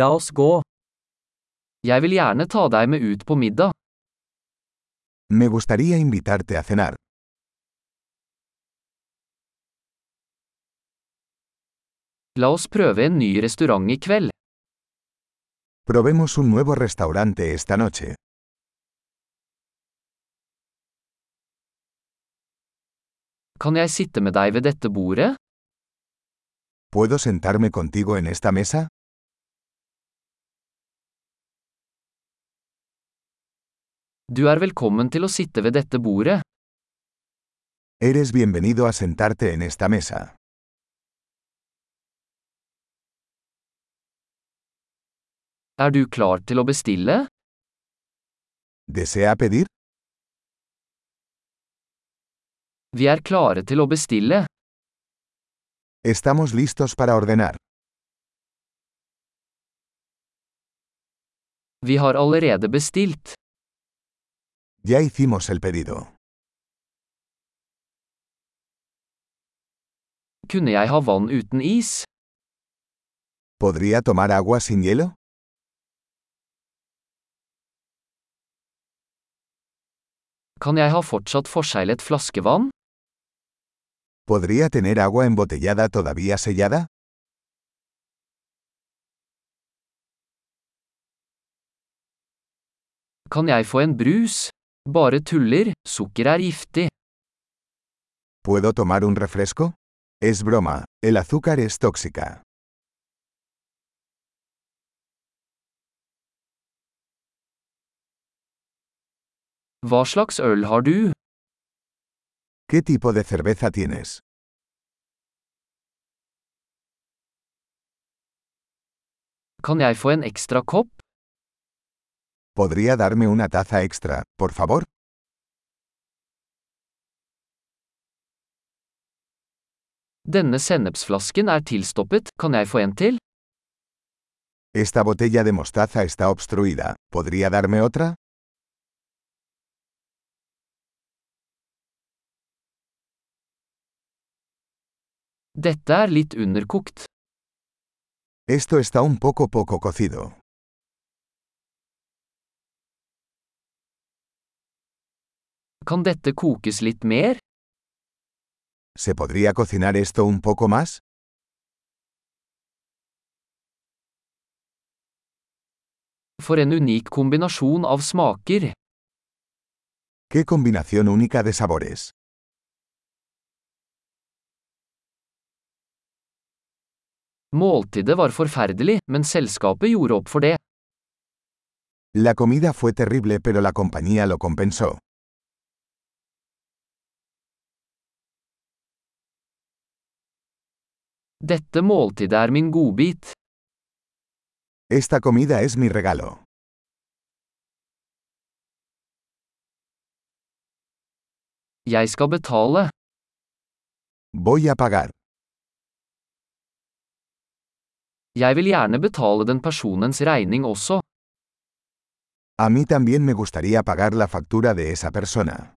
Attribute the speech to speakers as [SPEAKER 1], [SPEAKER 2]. [SPEAKER 1] La oss gå. Jeg vil gjerne ta deg med ut på middag.
[SPEAKER 2] Me gustaría invitarte a cenar.
[SPEAKER 1] La oss prøve en ny restaurant i kveld.
[SPEAKER 2] Probemos un nuevo restaurante esta noche.
[SPEAKER 1] Kan jeg sitte med deg ved dette bordet?
[SPEAKER 2] ¿Puedo sentarme contigo en esta mesa?
[SPEAKER 1] Du er velkommen til å sitte ved dette bordet.
[SPEAKER 2] Eres bienvenido a sentarte en esta mesa.
[SPEAKER 1] Er du klar til å bestille?
[SPEAKER 2] ¿Desea pedir?
[SPEAKER 1] Vi er klare til å bestille.
[SPEAKER 2] Estamos listos para ordenar.
[SPEAKER 1] Vi har allerede bestilt.
[SPEAKER 2] Ya hicimos el pedido.
[SPEAKER 1] Kunne jeg ha vann uten is?
[SPEAKER 2] ¿Podría tomar agua sin hielo?
[SPEAKER 1] Kan jeg ha fortsatt forseglet flaskevann?
[SPEAKER 2] ¿Podría tener agua embotellada todavía sellada?
[SPEAKER 1] Kan jeg få en brus? Bare tuller, sukker er giftig.
[SPEAKER 2] ¿Puedo tomar un refresco? Es broma, el azúcar es tóxica.
[SPEAKER 1] Hva slags øl har du?
[SPEAKER 2] ¿Qué tipo de cerveza tienes?
[SPEAKER 1] Kan jeg få en ekstra kopp?
[SPEAKER 2] ¿Podría darme una taza extra, por favor?
[SPEAKER 1] Denne sennepsflasken er tilstoppet, kan jeg få en til?
[SPEAKER 2] Esta botella de mostaza está obstruida. ¿Podría darme otra?
[SPEAKER 1] Dette er litt underkokt.
[SPEAKER 2] Esto está un poco poco cocido.
[SPEAKER 1] Kan dette kokes litt mer?
[SPEAKER 2] ¿Se podría cocinar esto un poco más?
[SPEAKER 1] For en unik kombinasjon av smaker.
[SPEAKER 2] ¡Qué combinación única de sabores!
[SPEAKER 1] Måltidet var forferdelig, men selskapet gjorde opp for det.
[SPEAKER 2] La comida fue terrible pero la compañía lo compensó.
[SPEAKER 1] Dette måltidet er min godbit.
[SPEAKER 2] Esta comida es mi regalo.
[SPEAKER 1] Jeg skal betale.
[SPEAKER 2] Voy a pagar.
[SPEAKER 1] Jeg vil gjerne betale den personens regning også.
[SPEAKER 2] A mí también me gustaría pagar la factura de esa persona.